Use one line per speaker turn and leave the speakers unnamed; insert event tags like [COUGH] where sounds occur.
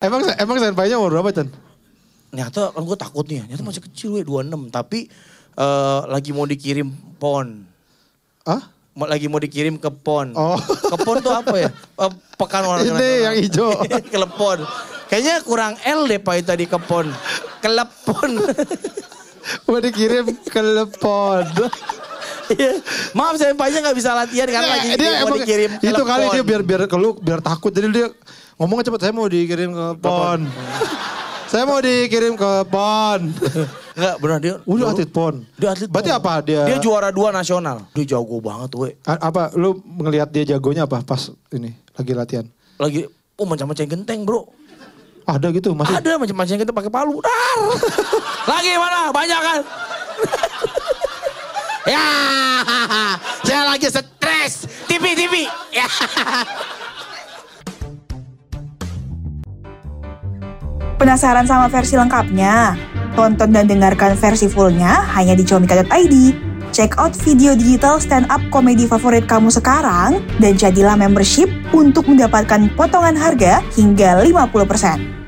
Emang emang senpainya umur berapa, Chan?
Ternyata kan gue takut nih, ternyata
Hmm.
masih kecil gue 26. Tapi eh, lagi mau dikirim pon.
Hah?
Mau- Lagi mau dikirim ke pon.
Oh.
Ke pon tuh apa ya? Eh, pekan
Ini
olahraga. nasional.
yang
[LAUGHS]
hijau.
Kelepon. Kayaknya kurang L deh Pak tadi ke pon. Kelepon.
Mau dikirim ke lepon.
[LAUGHS] Iya. Maaf saya Paknya nggak bisa latihan karena Kan lagi
Nah, dia
mau
emang
dikirim ke
itu kali
Lepon.
dia biar biar keluk biar takut jadi dia ngomongnya cepet saya mau dikirim ke pon. [LAUGHS] saya mau dikirim ke
[LAUGHS]
pon.
Enggak benar dia.
Udah
dulu-
atlet pon.
Dia atlet.
Berarti
pon.
apa dia?
Dia juara dua nasional. Dia jago banget we.
A- apa lu ngelihat dia jagonya apa pas ini lagi latihan?
Lagi oh macam-macam genteng bro.
Ada gitu masih.
Ada macam-macam genteng pakai palu. Dar. [LAUGHS] Lagi mana? Banyak [LAUGHS] kan? ya, [LAUGHS] saya lagi stres. TV, TV. Ya.
Penasaran sama versi lengkapnya? Tonton dan dengarkan versi fullnya hanya di comika.id. Check out video digital stand up komedi favorit kamu sekarang dan jadilah membership untuk mendapatkan potongan harga hingga 50%.